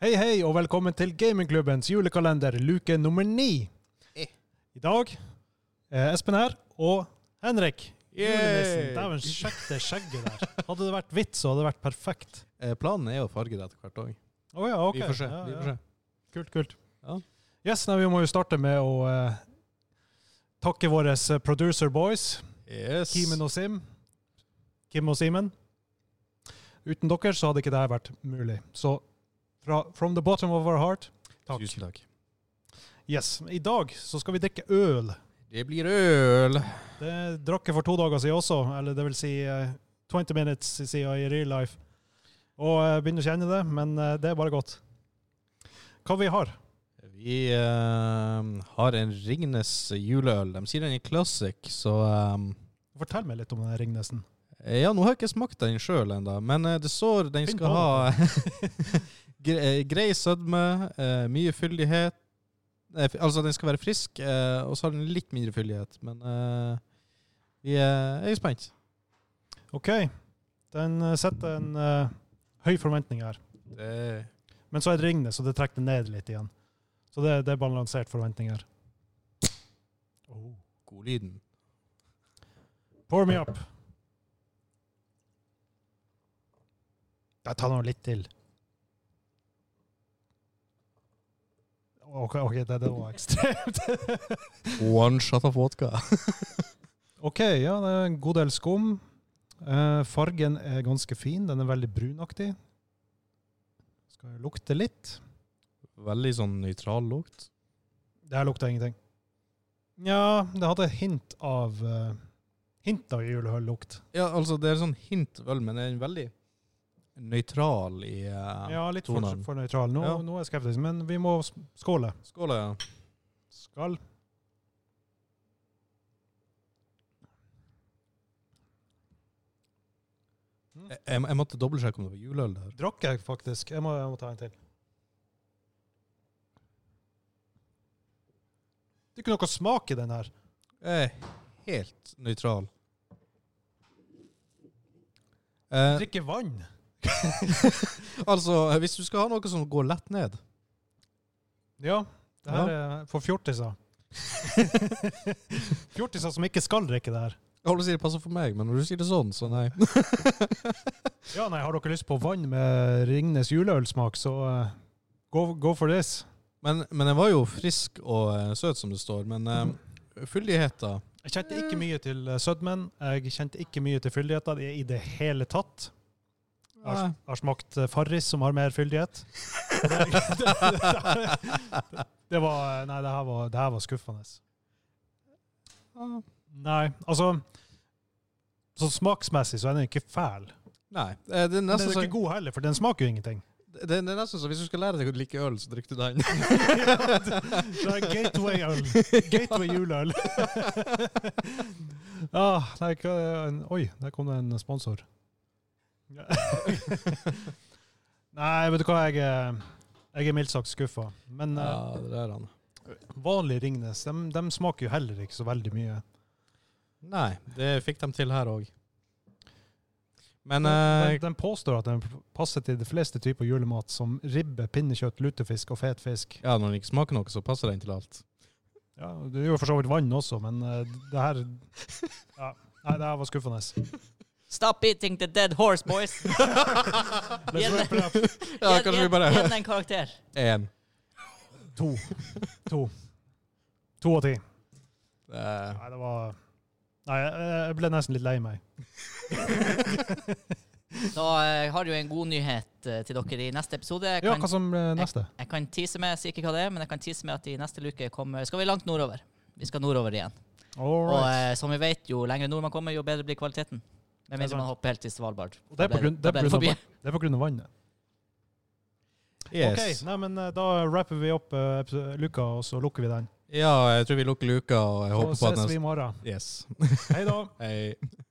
Hei, hei, og velkommen til Gamingklubbens julekalender, luke nummer ni. Eh. I dag eh, Espen her, og Henrik. Yay! Julenissen. Dæven, sjekk det skjegget der. Hadde det vært hvitt, så hadde det vært perfekt. Eh, planen er å farge det etter hvert òg. Å ja, ok. Vi får se. Ja, vi ja. får se. Kult, kult. Ja. Yes, nei, vi må jo starte med å eh, takke våre eh, producer boys, Yes. Kimen og Sim. Kim og Simen. Uten dere så hadde ikke det her vært mulig. Så fra, from the bottom of our heart, takk. Tusen takk. Yes. I dag så skal vi drikke øl. Det blir øl. Det drakk jeg for to dager siden også, eller det vil si eh, 20 minutes siden i real life. Og jeg begynner å kjenne det, men eh, det er bare godt. Hva vi har? Vi eh, har en Ringnes juleøl. De sier den er classic, så Fortell meg litt om den Ringnesen. eh, Ja, nå har jeg ikke smakt den sjøl ennå, men eh, det står den Finn på skal ha gre- eh, grei sødme, eh, mye fyldighet Eh, f- Altså, den skal være frisk, eh, og så har den litt mindre fyldighet, men eh, vi er, jeg er spent. OK. Den eh, setter en eh, høy forventning her. Det Men så er det Ringnes, og det trekker det ned litt igjen. Så det, det er balansert forventning her. Oh. god lyden. Pour me up. Jeg tar nå litt til. OK, ok, det, det var ekstremt. One shot of vodka. OK, ja, det er en god del skum. Eh, fargen er ganske fin. Den er veldig brunaktig. Skal jeg lukte litt? Veldig sånn nøytral lukt. Det her lukter ingenting. Nja, det hadde hint av eh, Hint av julehøllukt. Ja, altså det er sånn hint øl, men den er veldig nøytral i eh, Ja, litt for, tonen. for nøytral. Nå, Ja. nå er jeg skeptisk, men vi må s- skåle. Skål, ja. Skal. Jeg, jeg, jeg måtte dobbeltsjekke om det var juleøl der. Drakk jeg faktisk. Jeg må, jeg må ta en til. Det er ikke noe smak i den her. Jeg er helt nøytral. Eh, Drikke vann. altså, hvis du skal ha noe som går lett ned Ja, det her er for fjortiser. fjortiser som ikke skal drikke det her. Jeg holder på å si det passer for meg, men når du sier det sånn, så nei. Ja, nei, Har dere lyst på vann med Ringnes juleølsmak, så eh, go, go for this. Men, men den var jo frisk og eh, søt, som det står. Men uh, fyldigheta Jeg kjente ikke mye til eh, sødmen. Jeg kjente ikke mye til fyldigheten i det hele tatt. Jeg har, har smakt eh, Farris, som har mer fyldighet. Og Det, det, det, det var eh, Nei, det her var, det her var skuffende. Nei, altså Sånn smaksmessig så er den ikke fæl. Nei. eh, Det er Men den nesten er så, ikke god heller, for den smaker jo ingenting. det, det er nesten så hvis du skal lære deg å like øl, så drikker du den. Det er gateway-øl. Gateway-juleøl. ah, nei, hva, oi, der kom det en sponsor. Ja. nei, vet du hva, jeg, er- jeg er mildt sagt skuffa. Men eh, Ja, det er han. Vanlig Ringnes, de, smaker jo heller ikke så veldig mye. Nei, det fikk de til her òg. Men de, eh, de påstår at den passer til de fleste typer julemat, som ribbe, pinnekjøtt, lutefisk og fet fisk. ja, når den ikke smaker noe, så passer den til alt. Ja, det gjør for så vidt vann også, men eh, det her ja. Nei, det her var skuffende. Stop eating the dead horse, boys. Let's wrap it up. Ja, kanskje vi bare Igjen en karakter. Én. To. To. To av ti. Eh, Nei, det var Nei, jeg, jeg ble nesten litt lei meg. Da eh, har jeg jo en god nyhet eh, til dere i neste episode. Jeg Ja, kan, hva som ble neste? jeg kan tease med, jeg sier ikke hva det er, men jeg kan tease med at i neste luke kommer, skal vi langt nordover. Vi skal nordover igjen. All Og right. eh, som vi vet, jo lengre nord man kommer, jo bedre blir kvaliteten. Med Det er sant. mindre man hopper helt til Svalbard. Og det er Da på ble- grunn, da det ble er på grunn, forbi. av, det er på grunn av vannet. yes. OK, nei, men eh, da rapper vi opp eh, episo- luka, og så lukker vi den. Ja, jeg tror vi lukker luka, og jeg Så håper på at ses vi den i morgen. Yes. Hei da. Hei.